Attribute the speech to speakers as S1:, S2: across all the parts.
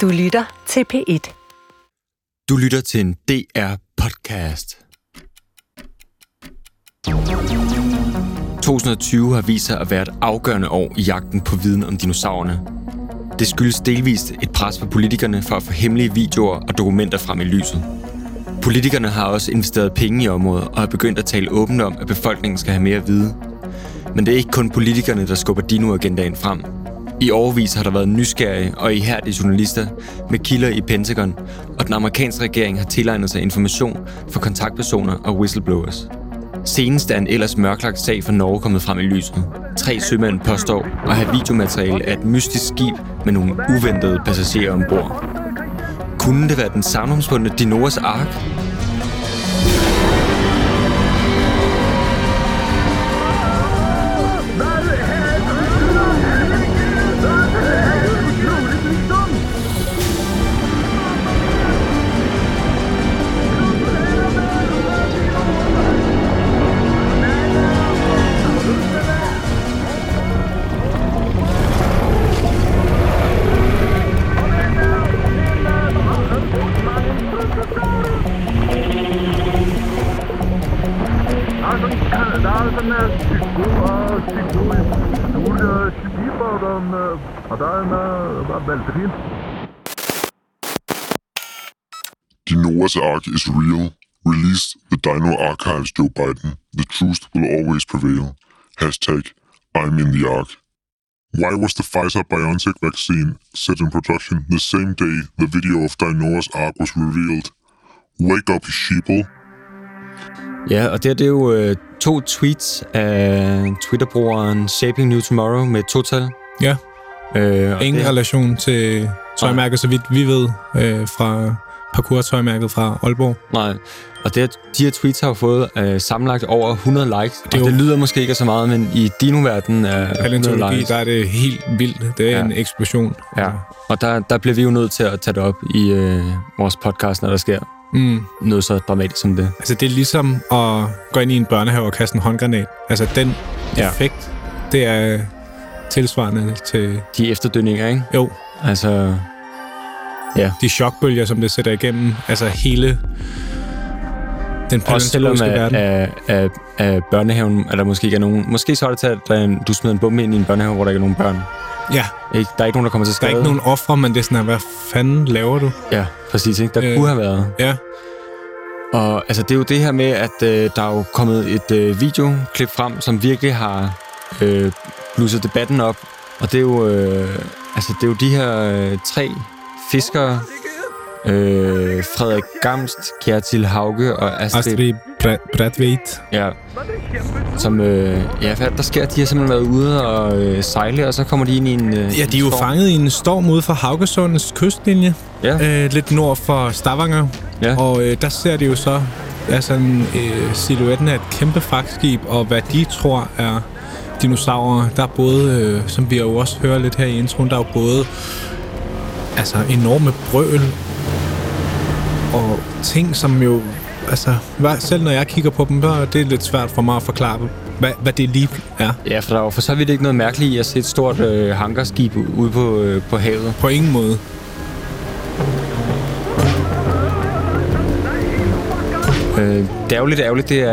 S1: Du lytter til P1.
S2: Du lytter til en DR podcast. 2020 har vist sig at være et afgørende år i jagten på viden om dinosaurerne. Det skyldes delvist et pres fra politikerne for at få hemmelige videoer og dokumenter frem i lyset. Politikerne har også investeret penge i området og er begyndt at tale åbent om, at befolkningen skal have mere at vide. Men det er ikke kun politikerne, der skubber dinoagendaen frem. I overvis har der været nysgerrige og ihærdige journalister med kilder i Pentagon, og den amerikanske regering har tilegnet sig information fra kontaktpersoner og whistleblowers. Senest er en ellers mørklagt sag fra Norge kommet frem i lyset. Tre sømænd påstår at have videomateriale af et mystisk skib med nogle uventede passagerer ombord. Kunne det være den savnomsbundne Dinoas Ark?
S3: Noah's Ark is real. Release the Dino Archives, Joe Biden. The truth will always prevail. Hashtag I'm in the Ark. Why was the Pfizer BioNTech vaccine set in production the same day the video of Dinoa's Ark was revealed? Wake up, sheeple.
S2: Ja, og det her det er jo øh, to tweets af Twitterbrugeren Shaping New Tomorrow med total.
S4: Ja.
S2: Øh, og
S4: Ingen
S2: det-
S4: relation til tøjmærket, så vidt vi ved, øh, fra parkour-tøjmærket fra Aalborg.
S2: Nej, og det, her- de her tweets har jo fået øh, sammenlagt over 100 likes. Det,
S4: er
S2: og
S4: jo-
S2: det lyder måske ikke af så meget, men i dinoverdenen er 100
S4: Paleontologi,
S2: likes.
S4: der er det helt vildt. Det er
S2: Ja.
S4: ja. en eksplosion.
S2: Ja, og der, der bliver vi jo nødt til at tage det op i øh, vores podcast, når der sker
S4: Mm.
S2: noget så dramatisk som det.
S4: Altså, det er ligesom at gå ind i en børnehave og kaste en håndgranat. Altså, den
S2: Ja.
S4: ja. effekt, det er tilsvarende til...
S2: De efterdønninger, ikke?
S4: Jo,
S2: Altså,
S4: de chokbølger, som det sætter igennem. Altså, hele den
S2: også selvom øh,
S4: paleontologiske
S2: at,
S4: verden.
S2: at, at, at børnehaven, at der måske ikke er nogen... Måske så er det til, at der er en- du smider en bombe ind i en børnehave, hvor der ikke er nogen børn.
S4: Ja,
S2: Ikke? Der er ikke nogen, der kommer til
S4: der
S2: skade.
S4: er ikke nogen ofre, men det er sådan, at, hvad fanden laver du?
S2: Ja, præcis. Ikke? Der øh.
S4: Øh.
S2: kunne have været.
S4: Ja.
S2: Og altså, det er jo det her med, at øh, der er jo kommet et øh, videoklip frem, som virkelig har øh, blusset debatten op. Og det er jo, øh, altså, det er jo de her øh, tre fiskere, øh, Frederik Gamst, Kjertil Hauge og Astrid, Astrid.
S4: Astrid Bra- Bratveit.
S2: Ja, som, øh, ja, hvad er det, der sker? De har simpelthen været ude og øh, sejle, og så kommer de ind i en øh,
S4: Ja, de er jo
S2: skov.
S4: fanget i en storm ude for Haugesundens kystlinje,
S2: Ja.
S4: øh, lidt nord for Stavanger.
S2: Ja.
S4: Og øh, der ser de jo så altså, en, øh, silhuetten af et kæmpe fragtskib, og hvad de tror er dinosaurer. Der er både, øh, som vi jo også hører lidt her i introen, der er jo både altså, enorme brøl og ting, som jo... Altså, hvad, selv når jeg kigger på dem, så er det lidt svært for mig at forklare, hvad, hvad det lige er.
S2: Ja, for der er jo for så vidt ikke noget mærkeligt i at se et stort øh, hangarskib ude på, øh, på havet.
S4: På ingen måde.
S2: Øh, det er jo lidt ærgerligt, det er,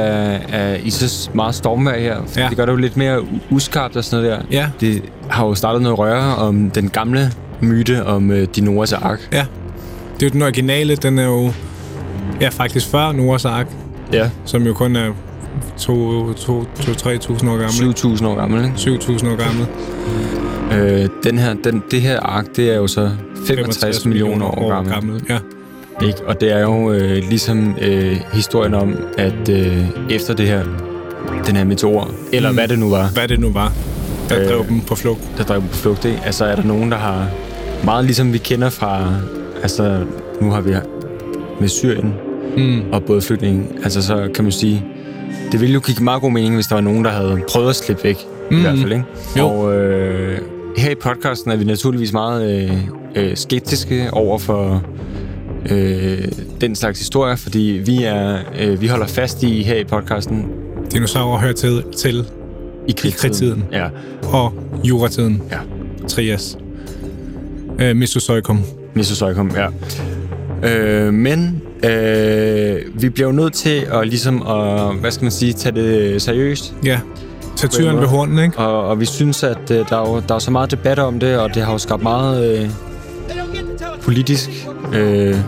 S2: er i så meget stormvejr her. Ja.
S4: Ja.
S2: Det gør det jo lidt mere u- uskarpt og sådan noget der.
S4: Ja.
S2: Det har jo startet noget røre om den gamle myte om øh, Dinoas ark.
S4: Ja. Det er jo den originale, den er jo ja, faktisk før Noahs Ark,
S2: Ja.
S4: som jo kun er 2-3.000 år gammel.
S2: 7.000 år gammel, ikke?
S4: 7.000 år gammel.
S2: Øh, den her, den, det her ark, det er jo så 65, 65 millioner år, år gammel. gammel.
S4: Ja.
S2: Ikke? Og det er jo øh, ligesom øh, historien om, at øh, efter det her, den her meteor, eller mm. hvad det nu var,
S4: Hvad det nu var, der
S2: Øh.
S4: øh. drev dem på flugt.
S2: der drev dem på flugt, ikke? Altså, er der nogen, der har... Meget ligesom vi kender fra... Altså, nu har vi med Syrien
S4: Mm.
S2: og både flygtninge. Altså, så kan man sige... Det ville jo give meget god mening, hvis der var nogen, der havde prøvet at slippe væk. Mm. I
S4: Mm.
S2: hvert fald, ikke?
S4: Jo.
S2: Og øh, her i podcasten er vi naturligvis meget øh, øh, skeptiske over for øh, den slags historier, fordi vi, er, øh, vi holder fast i her i podcasten
S4: Dinosaurer hører til, til
S2: i krigstiden.
S4: krigstiden.
S2: Ja,
S4: og juratiden.
S2: Ja.
S4: Trias. Øh, Mesozoikum.
S2: Mr. Søjkom, ja. Øh, men øh, vi bliver jo nødt til at, ligesom at, hvad skal man sige, tage det øh, seriøst.
S4: Ja. Tag
S2: På en
S4: tyren
S2: måde.
S4: ved hornen, ikke?
S2: Og, og vi synes, at øh, der, er jo, der er så meget debat om det, og det har jo skabt meget øh, politisk... Øh,
S4: Det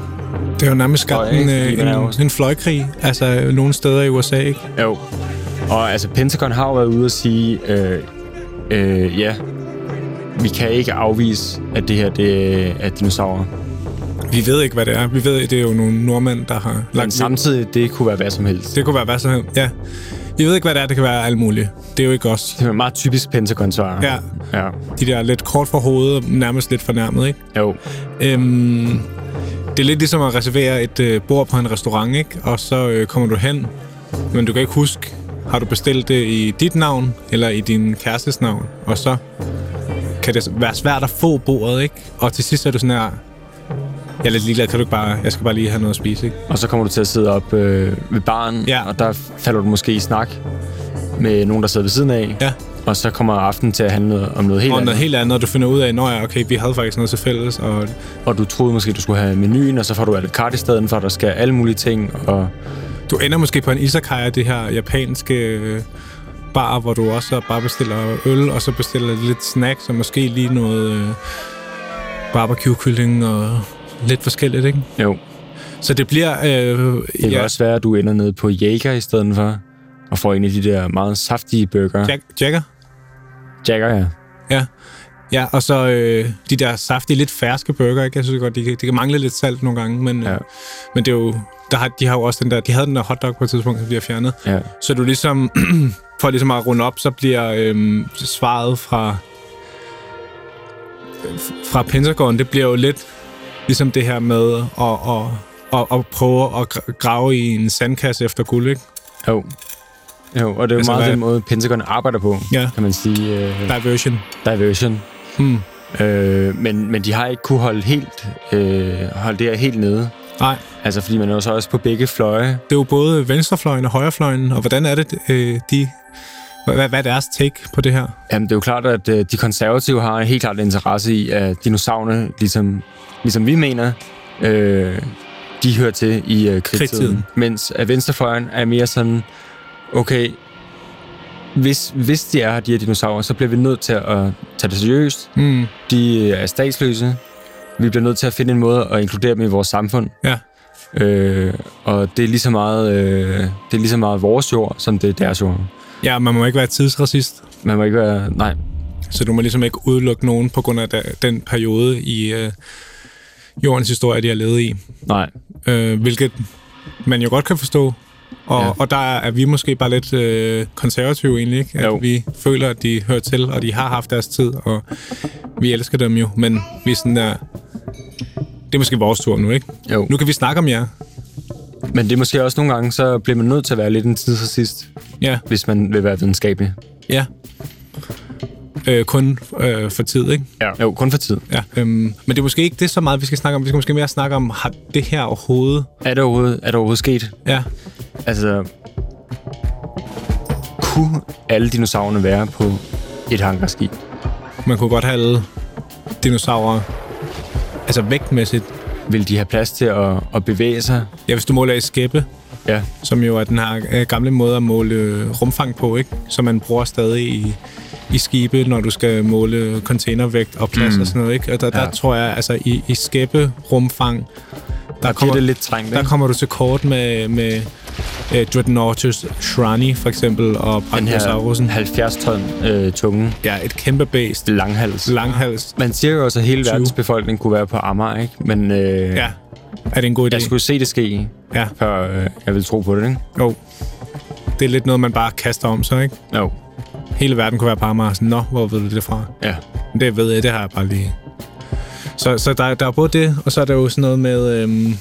S4: har jo nærmest skabt
S2: Fløj,
S4: en,
S2: ikke? Fordi
S4: øh,
S2: man er
S4: en,
S2: jo-
S4: en fløjkrig, altså nogle steder i USA, ikke?
S2: jo. Og altså, Pentagon har jo været ude og sige, øh, øh, ja, vi kan ikke afvise, at det her det øh, er dinosaurer.
S4: Vi ved ikke, hvad det er. Vi ved, det er jo nogle nordmænd, der har
S2: Men
S4: lagt
S2: samtidig, det kunne være hvad som helst.
S4: Det kunne være hvad som helst. Ja. Vi ved ikke, hvad det er. Det kan være alt muligt. Det er jo ikke os.
S2: Det er meget typisk Pentagon-svar.
S4: Ja.
S2: ja.
S4: De der lidt kort for hovedet og nærmest lidt fornærmet, ikke?
S2: Jo.
S4: Øhm, det er lidt ligesom at reservere et øh, bord på en restaurant, ikke? Og så øh, kommer du hen, men du kan ikke huske, har du bestilt det i dit navn eller i din kærestes navn? Og så kan det være svært at få bordet, ikke? Og til sidst er du sådan her, jeg er lidt ligeglad, kan du ikke bare, jeg skal bare lige have noget at spise, ikke?
S2: Og så kommer du til at sidde op øh, ved baren,
S4: Ja.
S2: og der falder du måske i snak med nogen, der sidder ved siden af.
S4: Ja.
S2: Og så kommer aftenen til at handle om noget helt
S4: Og
S2: andet.
S4: noget helt andet, og du finder ud af, når jeg, okay, vi havde faktisk noget til fælles, og
S2: Og du troede måske, du skulle have menuen, og så får du alt et kart i stedet for, der skal alle mulige ting. Og
S4: Du ender måske på en izakaya, det her japanske øh, bar, hvor du også bare bestiller øl, og så bestiller lidt snacks, og måske lige noget øh, barbecue-kylling og lidt forskelligt, ikke?
S2: jo,
S4: Så det bliver... Øh,
S2: det kan ja. også være, at du ender nede på Jager i stedet for, og får en af de der meget saftige burger.
S4: Jack, Jacker?
S2: Jager, ja.
S4: Ja. Ja, og så øh, de der saftige, lidt ferske burger, ikke? Jeg synes godt, de kan, de kan mangle lidt salt nogle gange, men, ja.
S2: Ja.
S4: øh, men det er jo... Der har, de har jo også den der... De havde den der hotdog på et tidspunkt, som de har fjernet.
S2: ja.
S4: Så du ligesom, for ligesom at runde op, så bliver øhm, svaret fra, fra Pentagon, det bliver jo lidt ligesom det her med at, at, at, at prøve at gra- grave i en sandkasse efter guld, ikke?
S2: Jo. Jo, og det er jo
S4: Altså,
S2: altså, meget
S4: hvad-
S2: den måde, Pentagon arbejder på,
S4: Ja.
S2: kan man sige. Øh,
S4: Diversion.
S2: diversion.
S4: Hmm.
S2: Øh, men, men de har ikke kunne holde, helt, øh, holde det her helt nede.
S4: Nej,
S2: Altså, fordi man er jo så også på begge fløje.
S4: det er jo både venstrefløjen og højrefløjen, og hvordan er det, øh, de... Hvad, hvad er deres take på det her?
S2: Jamen, det er jo klart, at øh, de konservative har en helt klart interesse i, at dinosaurerne, ligesom, ligesom vi mener, øh, de hører til i øh, krigstiden.
S4: Krigstiden.
S2: krigstiden. Mens at venstrefløjen er mere sådan, okay, hvis, hvis de er her, de her dinosaurer, så bliver vi nødt til at tage det seriøst.
S4: Mm.
S2: De øh, er statsløse. Vi bliver nødt til at finde en måde at inkludere dem i vores samfund.
S4: Ja.
S2: Øh, og det er lige så meget, øh, det er lige så meget vores jord, som det er deres jord.
S4: Ja, man må ikke være tidsracist.
S2: Man må ikke være... Nej.
S4: Så du må ligesom ikke udelukke nogen på grund af da- den periode i øh, jordens historie, de har levet i.
S2: Nej.
S4: øh, hvilket man jo godt kan forstå. Og, ja.
S2: Ja.
S4: og der er vi måske bare lidt øh, konservative egentlig, ikke? At
S2: Jo.
S4: vi føler, at de hører til, og de har haft deres tid, og vi elsker dem jo. Men vi er sådan der... Det er måske vores tur nu, ikke?
S2: Jo.
S4: Nu kan vi snakke om jer.
S2: Men det er måske også nogle gange, så bliver man nødt til at være lidt en tidsracist,
S4: Ja,
S2: hvis man vil være videnskabelig.
S4: ja. Øh, kun øh, for tid, ikke?
S2: Ja. Jo, kun for tid.
S4: Ja. Øhm, men det er måske ikke det så meget, vi skal snakke om. Vi skal måske mere snakke om, har det her overhovedet...
S2: Er det overhovedet, er det overhovedet sket?
S4: Ja,
S2: Altså, kunne alle dinosaurerne være på et hangarskib?
S4: man kunne godt have alle dinosaurer... Altså vægtmæssigt
S2: Vil de have plads til at, at bevæge sig?
S4: Ja, hvis du måler i skæppe,
S2: Ja.
S4: som jo er den her øh, gamle måde at måle øh, rumfang på, ikke? som man bruger stadig i, i skibe, når du skal måle containervægt og plads mm. og sådan noget. Ikke? Og der, der
S2: Ja.
S4: tror jeg, altså i, i skæppe rumfang,
S2: Kommer,
S4: der, kommer,
S2: det er lidt trængt,
S4: der
S2: ikke?
S4: kommer du til kort med, med øh, Dreadnoughtus Shrani for eksempel, og
S2: Den her
S4: Brachiosaurusen.
S2: 70-ton øh, tunge
S4: Ja, et kæmpe bæst.
S2: langhals.
S4: Langhals.
S2: Man siger jo også, at hele
S4: 20.
S2: verdens befolkning kunne være på Amager, ikke? Men øh, ja.
S4: Ja, er det en god idé?
S2: jeg skulle se det ske,
S4: Ja,
S2: før øh, jeg ville tro på det, ikke?
S4: jo. Det er lidt noget, man bare kaster om sig, ikke?
S2: Jo.
S4: Hele verden kunne være på Amager. Sådan, Nå, hvor ved du det fra?
S2: Ja.
S4: Det ved jeg, det har jeg bare lige. Så, så der, der er både det, og så er der jo sådan noget med... Øhm,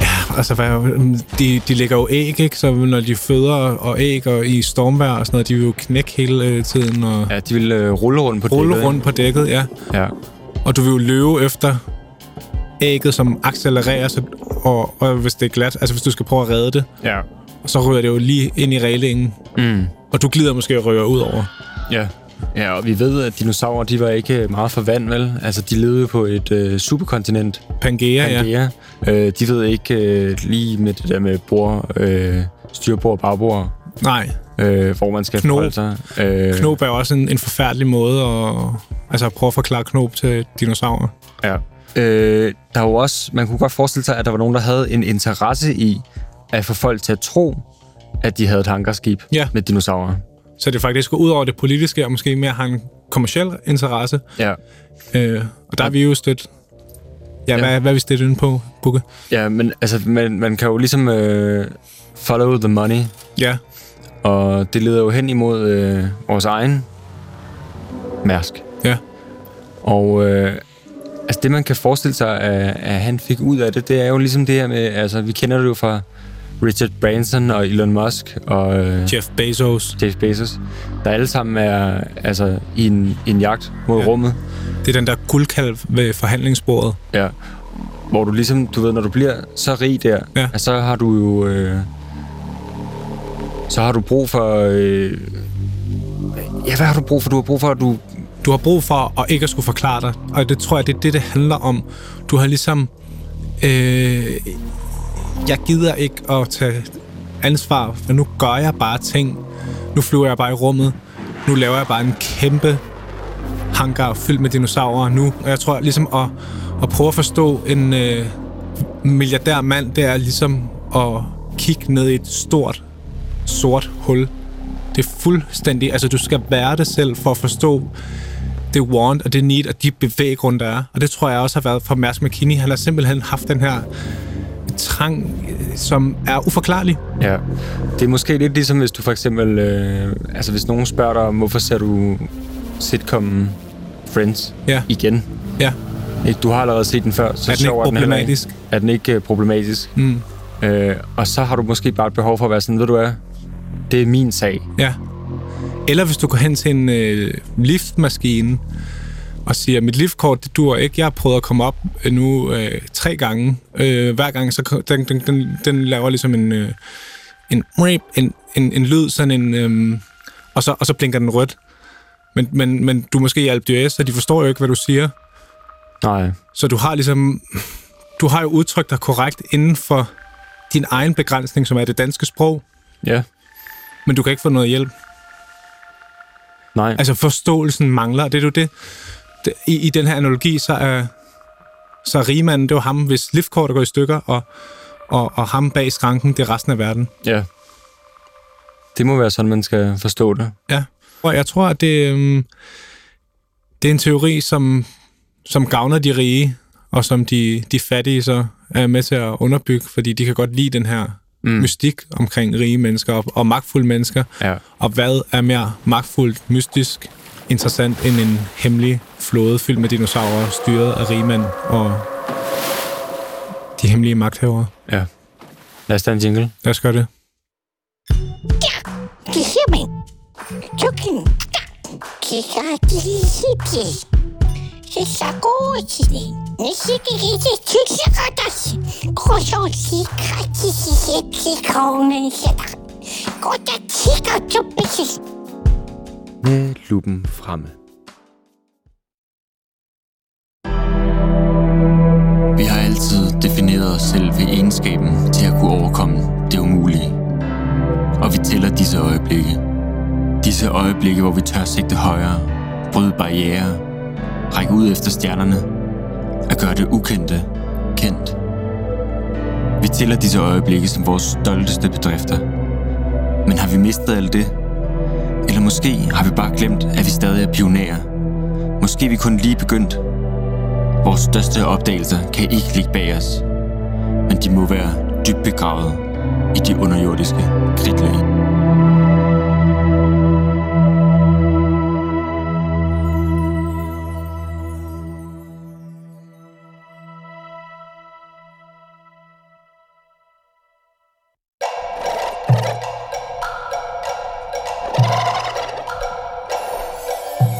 S4: ja, altså, hvad, øhm, de, de lægger jo æg, ikke? Så når de føder og æg og i stormvejr og sådan noget, de vil jo knække hele øh, tiden og
S2: Ja, de ville øh, rulle rundt på dækket,
S4: rulle
S2: ikke?
S4: rundt på dækket, ja.
S2: Ja.
S4: Og du vil jo løbe efter ægget, som accelererer, så, og, og hvis det er glat, altså hvis du skal prøve at redde det,
S2: Ja.
S4: så rører det jo lige ind i reglingen.
S2: Mm.
S4: Og du glider måske og rører ud over.
S2: Ja. Ja, og vi ved, at dinosaurer, de var ikke øh, meget for vand, vel? Altså, de levede jo på et øh, superkontinent,
S4: Pangea, ja.
S2: Pangea. Øh, de ved ikke øh, lige med det der med bord, øh, styrbord og bagbord,
S4: Nej,
S2: øh, hvor man skal
S4: Knob.
S2: forholde sig. Øh,
S4: knob er jo også en, en forfærdelig måde at, altså at prøve at forklare knob til dinosaurer.
S2: Ja. Øh, der var også, man kunne godt forestille sig, at der var nogen, der havde en interesse i at få folk til at tro, at de havde et hangarskib
S4: Ja.
S2: med dinosaurer.
S4: Så det faktisk går ud over det politiske, og måske mere har en kommersiel interesse.
S2: Ja.
S4: Øh, og der er vi jo stødt. Ja,
S2: Ja.
S4: ja. Hvad, hvad er vi stødt inde på, Bukke?
S2: ja, men altså, man, man kan jo ligesom øh, follow the money,
S4: Ja,
S2: og det leder jo hen imod øh, vores egen mærsk.
S4: ja.
S2: Og øh, altså det, man kan forestille sig, at, at han fik ud af det, det er jo ligesom det her med, altså vi kender det jo fra Richard Branson og Elon Musk og øh,
S4: Jeff Bezos.
S2: Jeff Bezos, der alle sammen er altså, i en, i en jagt mod ja.
S4: Ja.
S2: rummet.
S4: Det er den der guldkalv ved forhandlingsbordet.
S2: Ja. Hvor du ligesom, du ved, når du bliver så rig der,
S4: Ja.
S2: at så har du jo... Øh, så har du brug for... Øh, ja, hvad har du brug for? Du har brug for, at du...
S4: Du har brug for at ikke at skulle forklare dig, og det tror jeg, det er det, det handler om. Du har ligesom... Øh, jeg gider ikke at tage ansvar, for nu gør jeg bare ting. Nu flyver jeg bare i rummet. Nu laver jeg bare en kæmpe hangar fyldt med dinosaurer nu. Og jeg tror ligesom at, at prøve at forstå en øh, milliardær mand, det er ligesom at kigge ned i et stort sort hul. Det er fuldstændig... Altså, du skal være det selv for at forstå det want og det need og de bevæggrunde, der er. Og det tror jeg også har været for Mærsk McKinney. Han har simpelthen haft den her trang, øh, som er uforklarlig.
S2: Ja. Det er måske lidt ligesom, hvis du for eksempel... Øh, altså, hvis nogen spørger dig, om, hvorfor ser du sitcomen Friends
S4: Ja,
S2: igen?
S4: ja.
S2: Ikke? Du har allerede set den før, så
S4: Er den ikke
S2: sjov heller ikke.
S4: problematisk?
S2: er den ikke øh, problematisk.
S4: Mm.
S2: Øh, og så har du måske bare et behov for at være sådan, ved du hvad, det er min sag.
S4: Ja. Eller hvis du går hen til en øh, liftmaskine og siger, mit liftkort, det dur ikke. Jeg har prøvet at komme op øh, nu øh, tre gange. Øh, hver gang, så ko- den, den, den, den laver ligesom en, øh, en, en, en, en, en lyd, sådan en, øh, og, så, og så blinker den rødt. Men, men, men du er måske i Alp d'Huez, så de forstår jo ikke, hvad du siger.
S2: Nej.
S4: Så du har ligesom, du har jo udtrykt dig korrekt inden for din egen begrænsning, som er det danske sprog,
S2: Ja.
S4: men du kan ikke få noget hjælp.
S2: Nej.
S4: Altså forståelsen mangler, og det er jo det. det i, I den her analogi, så er, så er rigmanden, det var ham, hvis liftkortet går i stykker, og, og, og ham bag skranken, det er resten af verden.
S2: Ja. Det må være sådan, man skal forstå det.
S4: Ja. Og jeg tror, at det, øhm, det er en teori, som, som gavner de rige, og som de, de fattige så er med til at underbygge, fordi de kan godt lide den her mm. mystik omkring rige mennesker og, og magtfulde mennesker.
S2: Ja.
S4: Og hvad er mere magtfuldt, mystisk, interessant end en hemmelig flåde fyldt med dinosaurer, styret af rigmænd og de hemmelige magthavere?
S2: Ja. Lad os da en jingle.
S4: Lad os gøre det.
S1: Kissemen. Tjukken. Kisser disse. Kisser gode. Nisik ikke tjukke retters. Krossår sikre disse sætte kronen sætter. Godt at sikker tjukke.
S2: Med lupen fremme.
S5: Vi har altid defineret os selv ved egenskaben til at kunne overkomme det umulige. Og vi tæller disse øjeblikke. Disse øjeblikke, hvor vi tør sigte højere, bryde barriere, række ud efter stjernerne, at gøre det ukendte kendt. Vi tæller disse øjeblikke som vores stolteste bedrifter. Men har vi mistet alt det? Eller måske har vi bare glemt, at vi stadig er pionerer. Måske er vi kun lige begyndt, Vores største opdagelser kan ikke ligge bag os, men de må være dybt begravet i de underjordiske kridtlag.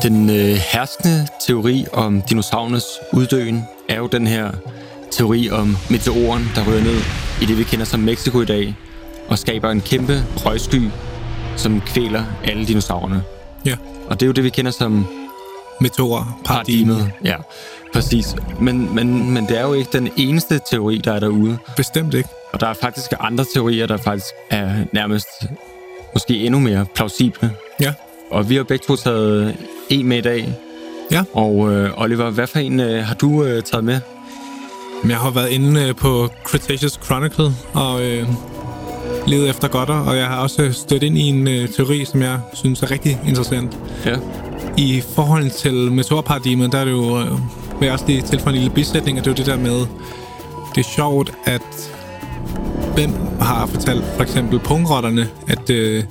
S2: Den øh, herskende teori om dinosaurernes uddøen er jo den her teori om meteoren, der ryger ned i det, vi kender som Mexico i dag, og skaber en kæmpe røgsky, som kvæler alle dinosaurerne.
S4: Ja.
S2: Og det er jo det, vi kender som
S4: Meteor, paradigmet.
S2: paradigmet. Ja, præcis. Men, men, men det er jo ikke den eneste teori, der er derude.
S4: Bestemt ikke.
S2: Og der er faktisk andre teorier, der faktisk er nærmest måske endnu mere plausible.
S4: Ja.
S2: Og vi har begge to taget en med i dag.
S4: Ja.
S2: Og øh, Oliver, hvad for en øh, har du øh, taget med?
S4: Men Jeg har været inde øh, på Cretaceous Chronicle og øh, ledet efter godter, og jeg har også øh, stødt ind i en øh, teori, som jeg synes er rigtig interessant.
S2: Ja.
S4: I forhold til meteorparadigmet, der er det jo, øh, vil jeg også lige tilføje en lille bisætning, og det er jo det der med, det er sjovt, at hvem har fortalt for eksempel pungrotterne, at øh,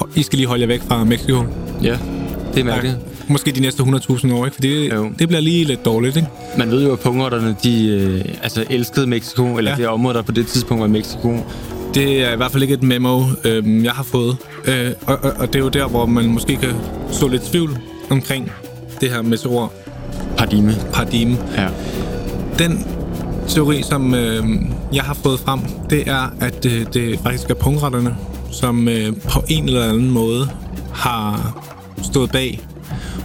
S4: ho- I skal lige holde jer væk fra Mexico.
S2: Ja, det er mærkeligt.
S4: Måske de næste 100.000 år, ikke? For
S2: Jo.
S4: det, det bliver lige lidt dårligt, ikke?
S2: Man ved jo, at pungrotterne, de øh, altså elskede Mexico, eller ja.
S4: Ja.
S2: det område, der på det tidspunkt var Mexico.
S4: Det er i hvert fald ikke et memo, øhm, jeg har fået. Øh, og, og, og det er jo der, hvor man måske kan så lidt tvivl omkring det her meteorparadigme.
S2: Paradigme. Ja.
S4: Den teori, som øh, jeg har fået frem, det er, at øh, det faktisk er pungrotterne, som øh, på en eller anden måde har stået bag.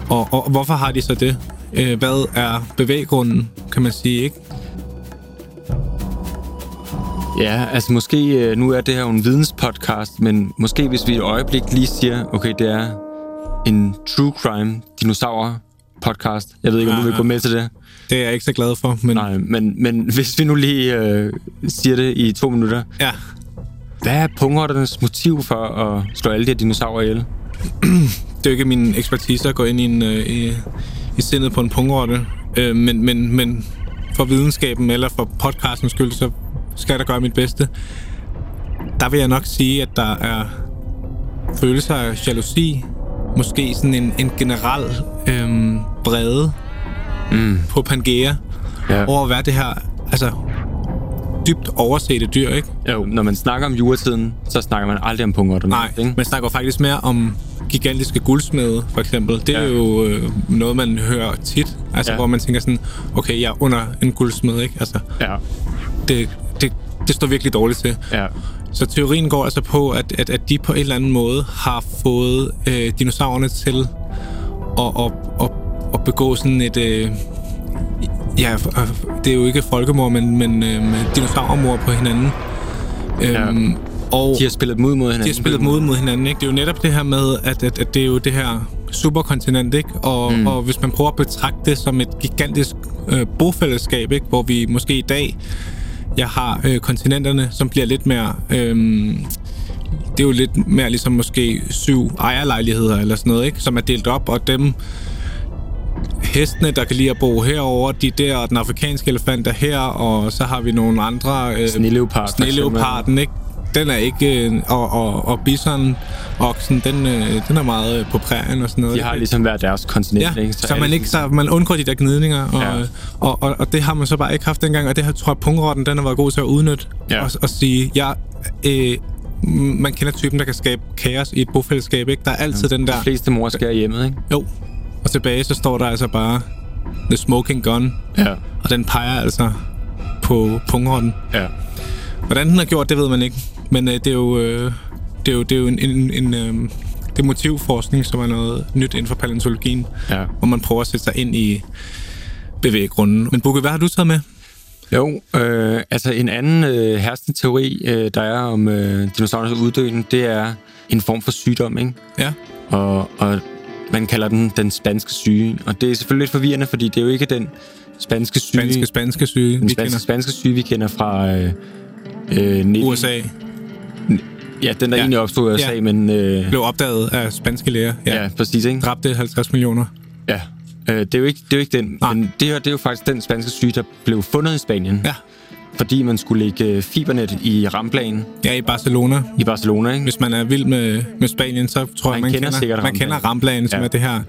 S4: Og, og hvorfor har de så det? Øh, hvad er bevæggrunden, kan man sige, ikke?
S2: Ja, altså måske, øh, nu er det her jo en videnspodcast, men måske hvis vi et øjeblik lige siger, okay, det er en true crime dinosaurer podcast. Jeg ved ikke, om du vil
S4: Ja,
S2: gå med til det.
S4: Det er jeg ikke så glad for, men
S2: Nej, men, men hvis vi nu lige øh, siger det i to minutter.
S4: ja.
S2: Hvad er pungotternes motiv for at slå alle de her dinosaurer ihjel?
S4: det er jo ikke min ekspertise at gå ind i, en, øh, i, i sindet på en pungrotte, øh, men, men, men for videnskaben eller for podcastens skyld, så skal jeg da gøre mit bedste. Der vil jeg nok sige, at der er følelser af jalousi, måske sådan en, en generel øh, brede mm. på Pangea,
S2: Ja.
S4: over at være det her altså, dybt oversete dyr, ikke?
S2: Jo, når man snakker om juretiden, så snakker man aldrig om pungotterne.
S4: Nej,
S2: ikke?
S4: man snakker faktisk mere om gigantiske guldsmede, for eksempel. Det er
S2: Ja.
S4: ja. jo øh, noget, man hører tit. Altså,
S2: Ja.
S4: ja. hvor man tænker sådan, okay, jeg er under en guldsmed, ikke? Altså,
S2: Ja,
S4: det, det, det står virkelig dårligt til.
S2: ja.
S4: Så teorien går altså på, at, at, at de på en eller anden måde har fået øh, dinosaurerne til at, at, at, at begå sådan et... Øh, ja, f- f- det er jo ikke folkemord, men, men øh, men dinosaurmord på hinanden. Øhm, og
S2: De har spillet dem ud mod hinanden.
S4: de har spillet mod mod hinanden, ikke? Det er jo netop det her med, at, at, at det er jo det her superkontinent, ikke? Og, mm. og hvis man prøver at betragte det som et gigantisk øh, bofællesskab, ikke? Hvor vi måske i dag, jeg har øh, kontinenterne, som bliver lidt mere... Øh, det er jo lidt mere ligesom måske syv ejerlejligheder eller sådan noget, ikke? Som er delt op, og dem hestene, der kan lide at bo herover, de er der, og den afrikanske elefant er her, og så har vi nogle andre... Øh,
S2: Sneleopard, for eksempel.
S4: Sneleoparden, ikke? Den er ikke... Øh, og, og, og bison, oksen, den, øh, den er meget øh, på prærien og sådan noget.
S2: De har ligesom hver deres kontinent,
S4: Ja,
S2: ikke?
S4: så, man,
S2: alle-
S4: ikke, så man undgår de der gnidninger, og,
S2: Ja.
S4: ja. og, og, og det har man så bare ikke haft dengang, og det her, tror jeg, pungrotten, den har været god til at udnytte,
S2: Ja.
S4: og, og sige, ja, øh, man kender typen, der kan skabe kaos i et bofællesskab, ikke? Der er altid ja. den der,
S2: De fleste mor skal hjemmet, ikke?
S4: jo, og tilbage så står der altså bare The Smoking Gun,
S2: Ja.
S4: og den peger altså på pungrotten.
S2: Ja.
S4: Hvordan den har gjort, det ved man ikke, men øh, det er jo, øh, det er jo, det er jo en, en, en øh, det er motivforskning, som er noget nyt inden for paleontologien
S2: ja.
S4: hvor man prøver at sætte sig ind i bevæggrunden. Men Bukke, hvad har du taget med?
S2: Jo, øh, altså en anden øh, herskende teori, øh, der er om øh, dinosaurernes uddøen, det er en form for sygdom, ikke?
S4: Ja.
S2: Og, og man kalder den den spanske syge. Og det er selvfølgelig lidt forvirrende, fordi det er jo ikke den spanske syge,
S4: Spanske, spanske syge.
S2: den
S4: Vi
S2: spanske,
S4: kender
S2: spanske syge, vi kender fra øh, øh, 19,
S4: USA
S2: Ja, den der ja.
S4: Ja.
S2: egentlig opstod i USA, ja.
S4: Ja.
S2: men... Øh,
S4: blev opdaget af spanske læger.
S2: ja. ja, præcis, ikke?
S4: Dræbte 50 millioner.
S2: Ja. Øh, det, er jo ikke, det er jo ikke den,
S4: Nej.
S2: men det, her, det er jo faktisk den spanske syge, der blev fundet i Spanien.
S4: Ja.
S2: Fordi man skulle lægge fibernet i ramplanen
S4: Ja, i Barcelona.
S2: i Barcelona, ikke?
S4: Hvis man er vild med, med Spanien, så tror
S2: Man
S4: jeg, man
S2: kender
S4: kender,
S2: sikkert
S4: man kender Ramplagen, som
S2: Ja.
S4: er det her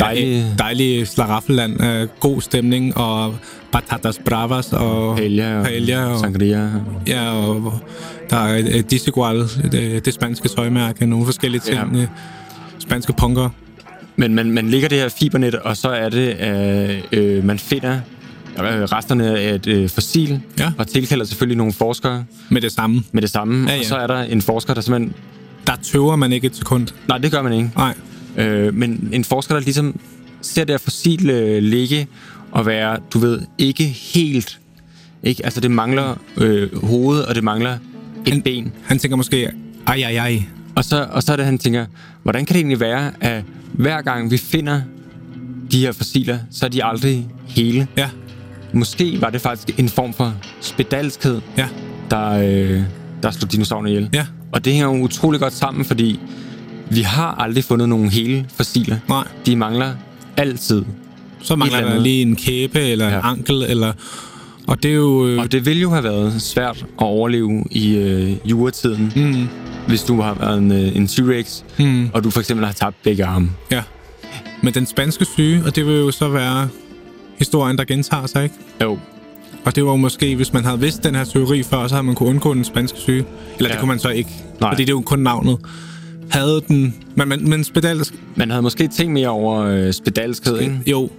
S2: Dejlige-
S4: ja, dejlige slaraffeland af god stemning og patatas bravas og
S2: Paella og,
S4: paella og,
S2: sangria.
S4: ja, og der er øh, Disigual, det, det spanske tøjmærke, nogle forskellige ting.
S2: Ja.
S4: Ja. Spanske punker.
S2: Men man, man ligger det her fibernet, og så er det, at øh, man finder øh, resterne af et øh, fossil,
S4: Ja.
S2: og tilkalder selvfølgelig nogle forskere
S4: med det samme.
S2: med det samme.
S4: Ja, ja.
S2: Og så er der en forsker, der simpelthen...
S4: Der tøver man ikke et sekund.
S2: Nej, det gør man ikke.
S4: Nej.
S2: Øh, men en forsker, der ligesom ser det her fossil øh, ligge og være, du ved, ikke helt... Ikke? Altså, det mangler øh, hovedet, og det mangler et
S4: Han-
S2: ben.
S4: Han tænker måske, ej, ej, ej.
S2: Og så, og så er det, han tænker, hvordan kan det egentlig være, at hver gang vi finder de her fossiler, så er de aldrig hele.
S4: Ja,
S2: Måske var det faktisk en form for spedalskhed,
S4: ja,
S2: der, øh, der slog dinosaurerne ihjel.
S4: Ja.
S2: Og det hænger jo utrolig godt sammen, fordi vi har aldrig fundet nogen hele fossiler.
S4: nej.
S2: De mangler altid.
S4: Så mangler
S2: eller
S4: der
S2: andet.
S4: lige en kæbe eller ja. en
S2: Ja.
S4: ankel, eller... Og det er jo... Øh,
S2: Og det ville jo have været svært at overleve i øh, juretiden, mm. hvis du har været en, øh, en T-Rex, mm. og du for eksempel har tabt begge arme.
S4: ja. Men den spanske syge, og det vil jo så være historien, der gentager sig, ikke?
S2: Jo,
S4: Og det var jo måske, hvis man havde vidst den her teori før, så havde man kunne undgå den spanske syge. Eller ja. det
S2: Ja.
S4: kunne man så ikke,
S2: Nej.
S4: fordi det er jo kun navnet. Havde den... Men, men, men spedalsk...
S2: Man havde måske tænkt mere over øh, spedalskhed, ikke?
S4: Jo,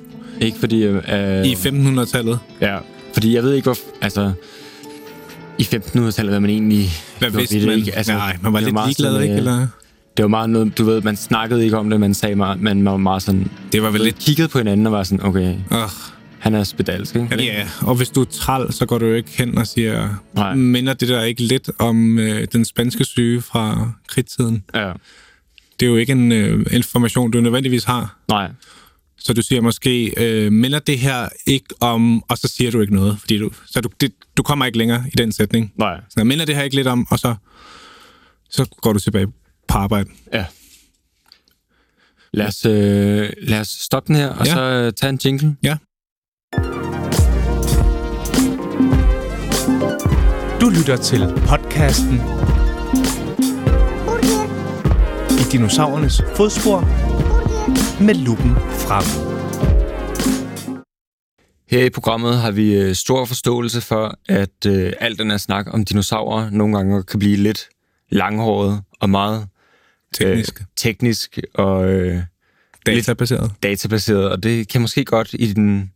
S2: Ikke fordi... Øh,
S4: i 1500-tallet.
S2: Ja, fordi jeg ved ikke, hvor... Altså, i 1500-tallet, hvad man egentlig...
S4: Hvad
S2: gjorde
S4: vidste
S2: ved det,
S4: man?
S2: Ikke? Altså,
S4: Nej, man var
S2: det
S4: lidt
S2: meget
S4: ligeglad,
S2: sådan,
S4: ikke?
S2: øh,
S4: Eller?
S2: Det var meget noget, du ved, man snakkede ikke om det, man sagde meget, man var meget sådan...
S4: Det var vel lidt...
S2: Kiggede på hinanden og var sådan, okay,
S4: Øh,
S2: han er spedalsk, ikke?
S4: ja, ja, og hvis du er træl, så går du jo ikke hen og siger,
S2: Nej.
S4: minder det der ikke lidt om øh, den spanske syge fra krigstiden?
S2: ja.
S4: Det er jo ikke en øh, information, du nødvendigvis har.
S2: Nej,
S4: Så du siger måske, øh, minder det her ikke om, og så siger du ikke noget. Fordi du, så du, det, du kommer ikke længere i den sætning.
S2: nej,
S4: Så minder det her ikke lidt om, og så, så går du tilbage på arbejde.
S2: ja. Lad os, øh, lad os stoppe den her, og
S4: Ja.
S2: så øh, tage en jingle.
S4: Ja,
S6: Du lytter til podcasten i dinosaurernes fodspor med lupen frem.
S2: Her i programmet har vi øh, stor forståelse for, at øh, al den her snak om dinosaurer nogle gange kan blive lidt langhåret og meget
S4: teknisk.
S2: øh, teknisk og øh,
S4: Øh, databaseret.
S2: databaseret, og det kan måske godt i den,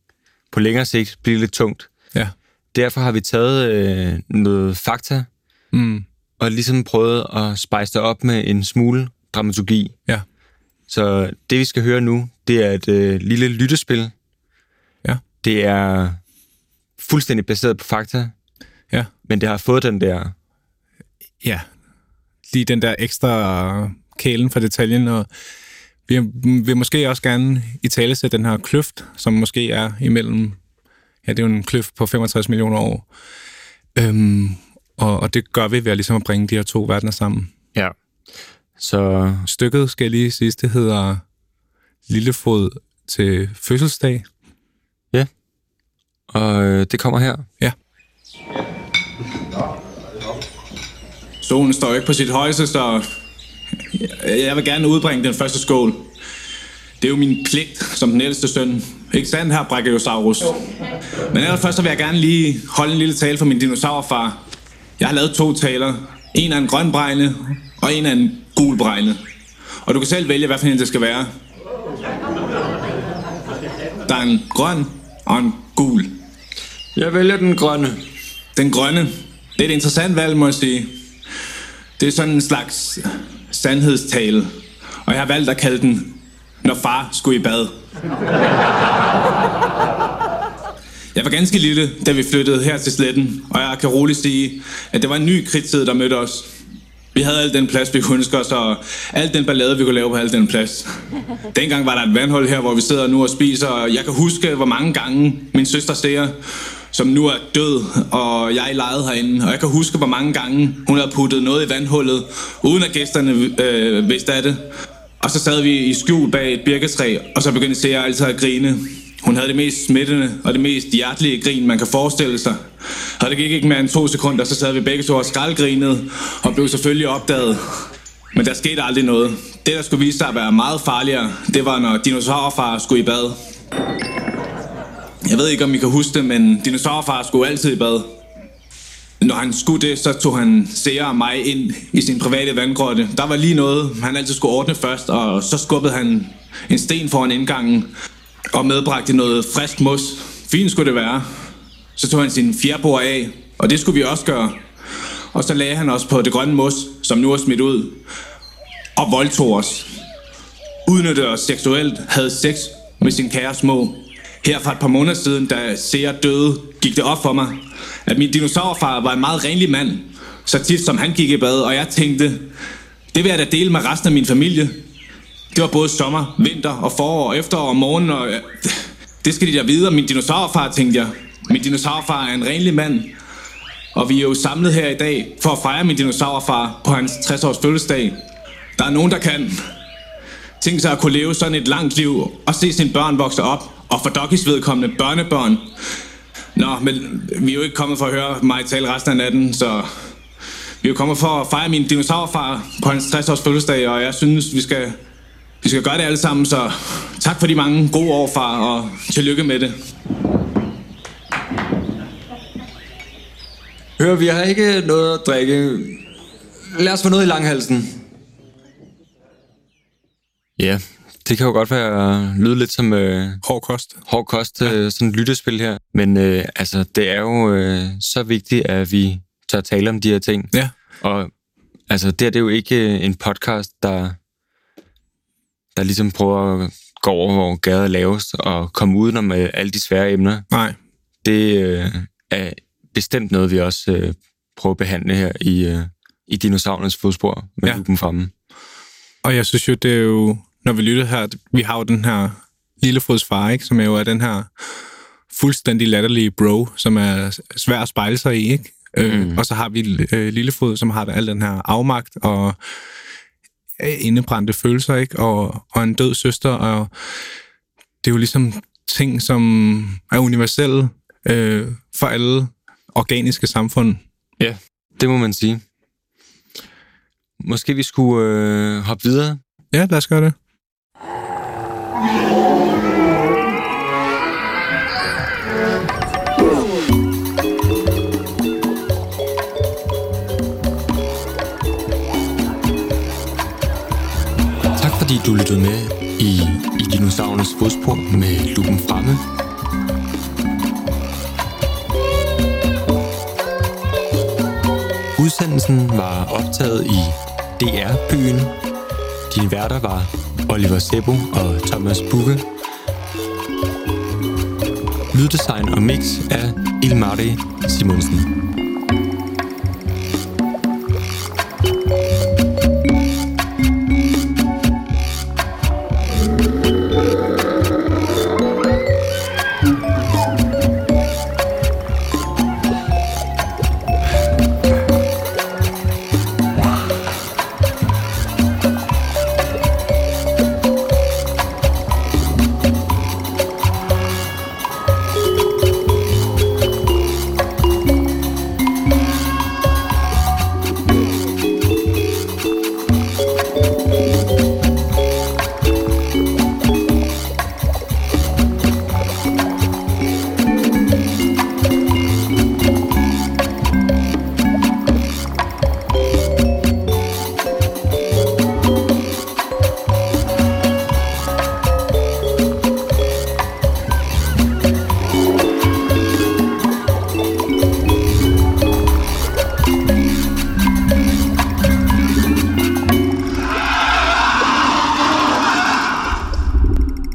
S2: på længere sigt blive lidt tungt.
S4: Ja.
S2: Derfor har vi taget øh, noget fakta
S4: Mm,
S2: og ligesom prøvet at spice det op med en smule dramaturgi.
S4: ja.
S2: Så det, vi skal høre nu, det er et øh, lille lyttespil.
S4: Ja.
S2: Det er fuldstændig baseret på fakta,
S4: Ja.
S2: men det har fået den der...
S4: Ja. Lige den der ekstra kælen for detaljen, og vi vil måske også gerne i tale sætte den her kløft, som måske er imellem, ja, det er jo en kløft på 65 millioner år. Øhm, og, og det gør vi ved at ligesom at bringe de her to verdener sammen.
S2: Ja. Så
S4: Stykket, skal jeg lige sige, det hedder Lillefod til fødselsdag.
S2: og øh, det kommer her.
S4: Solen står ikke på sit højeste, så jeg vil gerne udbringe den første skål. Det er jo min pligt som den ældste søn. Ikke sandt, her Brachiosaurus? Men allerførst så vil jeg gerne lige holde en lille tale for min dinosaurfar. Jeg har lavet to taler. En af en grøn bregne, og en af en gul bregne. Og du kan selv vælge, hvad for en det skal være. Der er en grøn og en gul.
S2: Jeg vælger den grønne.
S4: Den grønne. Det er et interessant valg, må jeg sige. Det er sådan en slags sandhedstale. Og jeg har valgt at kalde den, når far skulle i bad. Jeg var ganske lille, da vi flyttede her til sletten, og jeg kan roligt sige, at det var en ny kridtid, der mødte os. Vi havde al den plads, vi kunne ønske os, og al den ballade, vi kunne lave på al den plads. Dengang var der et vandhul her, hvor vi sidder nu og spiser, og jeg kan huske, hvor mange gange min søster ser, som nu er død, og jeg legede herinde. Og jeg kan huske, hvor mange gange hun havde puttet noget i vandhullet, uden at gæsterne øh, vidste af det. Og så sad vi i skjul bag et birketræ, og så begyndte Sea altid at grine. Hun havde det mest smittende og det mest hjertelige grin, man kan forestille sig. Og det gik ikke mere end to sekunder, så sad vi begge to og skraldgrinede, og blev selvfølgelig opdaget. Men der skete aldrig noget. Det, der skulle vise sig at være meget farligere, det var, når dinosaurfar skulle i bad. Jeg ved ikke, om I kan huske det, men dinosaurfar skulle altid i bad. Når han skulle det, så tog han Sera og mig ind i sin private vandgrotte. Der var lige noget, han altid skulle ordne først, og så skubbede han en sten foran indgangen og medbragte noget frisk mos. Fint skulle det være. Så tog han sin fjerbord af, og det skulle vi også gøre. Og så lagde han os på det grønne mos, som nu er smidt ud, og voldtog os. udnyttede os seksuelt, havde sex med sin kære små. Her for et par måneder siden, da Seer døde, gik det op for mig, at min dinosaurfar var en meget renlig mand. Så tit som han gik i bad, og jeg tænkte, det vil jeg da dele med resten af min familie. Det var både sommer, vinter og forår og efterår og morgen, og øh, det skal de da vide om min dinosaurfar, tænkte jeg. Min dinosaurfar er en renlig mand, og vi er jo samlet her i dag for at fejre min dinosaurfar på hans 60-års fødselsdag. Der er nogen, der kan. Tænk sig at kunne leve sådan et langt liv og se sine børn vokse op og for Dokkis vedkommende børnebørn. Nå, men vi er jo ikke kommet for at høre mig tale resten af natten, så vi er jo kommet for at fejre min dinosaurfar på hans 60-års fødselsdag, og jeg synes, vi skal, vi skal gøre det alle sammen, så tak for de mange gode år, far, og tillykke med det.
S2: Hør, vi har ikke noget at drikke. Lad os få noget i langhalsen. Ja, det kan jo godt være lyde lidt som øh,
S7: Hård kost.
S2: hård kost, øh, sådan et lyttespil her. Men øh, altså, det er jo øh, så vigtigt, at vi tør tale om de her ting.
S7: Ja.
S2: Og altså, det her det er jo ikke øh, en podcast, der, der ligesom prøver at gå over, hvor gader er lavest, og komme udenom øh, alle de svære emner.
S7: Nej.
S2: Det øh, er bestemt noget, vi også øh, prøver at behandle her i, øh, i dinosaurernes fodspor med ja.
S7: Ja.
S2: lupen fremme.
S7: Og jeg synes jo, det er jo, når vi lytter her, vi har jo den her Lillefods far, ikke? som er jo er den her fuldstændig latterlige bro, som er svær at spejle sig i, ikke? Mm. Øh, og så har vi øh, Lillefod, som har al den her afmagt og øh, indebrændte følelser, ikke? Og, og en død søster, og det er jo ligesom ting, som er universelle øh, for alle organiske samfund.
S2: Det må man sige. Måske vi skulle øh, hoppe videre
S7: Ja, lad os gøre det.
S2: Tak fordi du lyttede med i, i Dinosaurernes fodspor med lupen fremme. Udsendelsen var optaget i DR-byen. Dine værter var Oliver Sebo og Thomas Bugge. Lyddesign og mix af Ilmari Simonsen.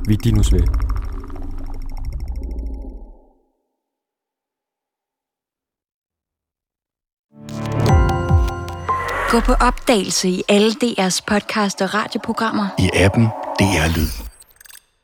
S2: Vi er Dinos ved.
S8: Gå på opdagelse i alle DR's podcast og radioprogrammer.
S3: I appen DR Lyd.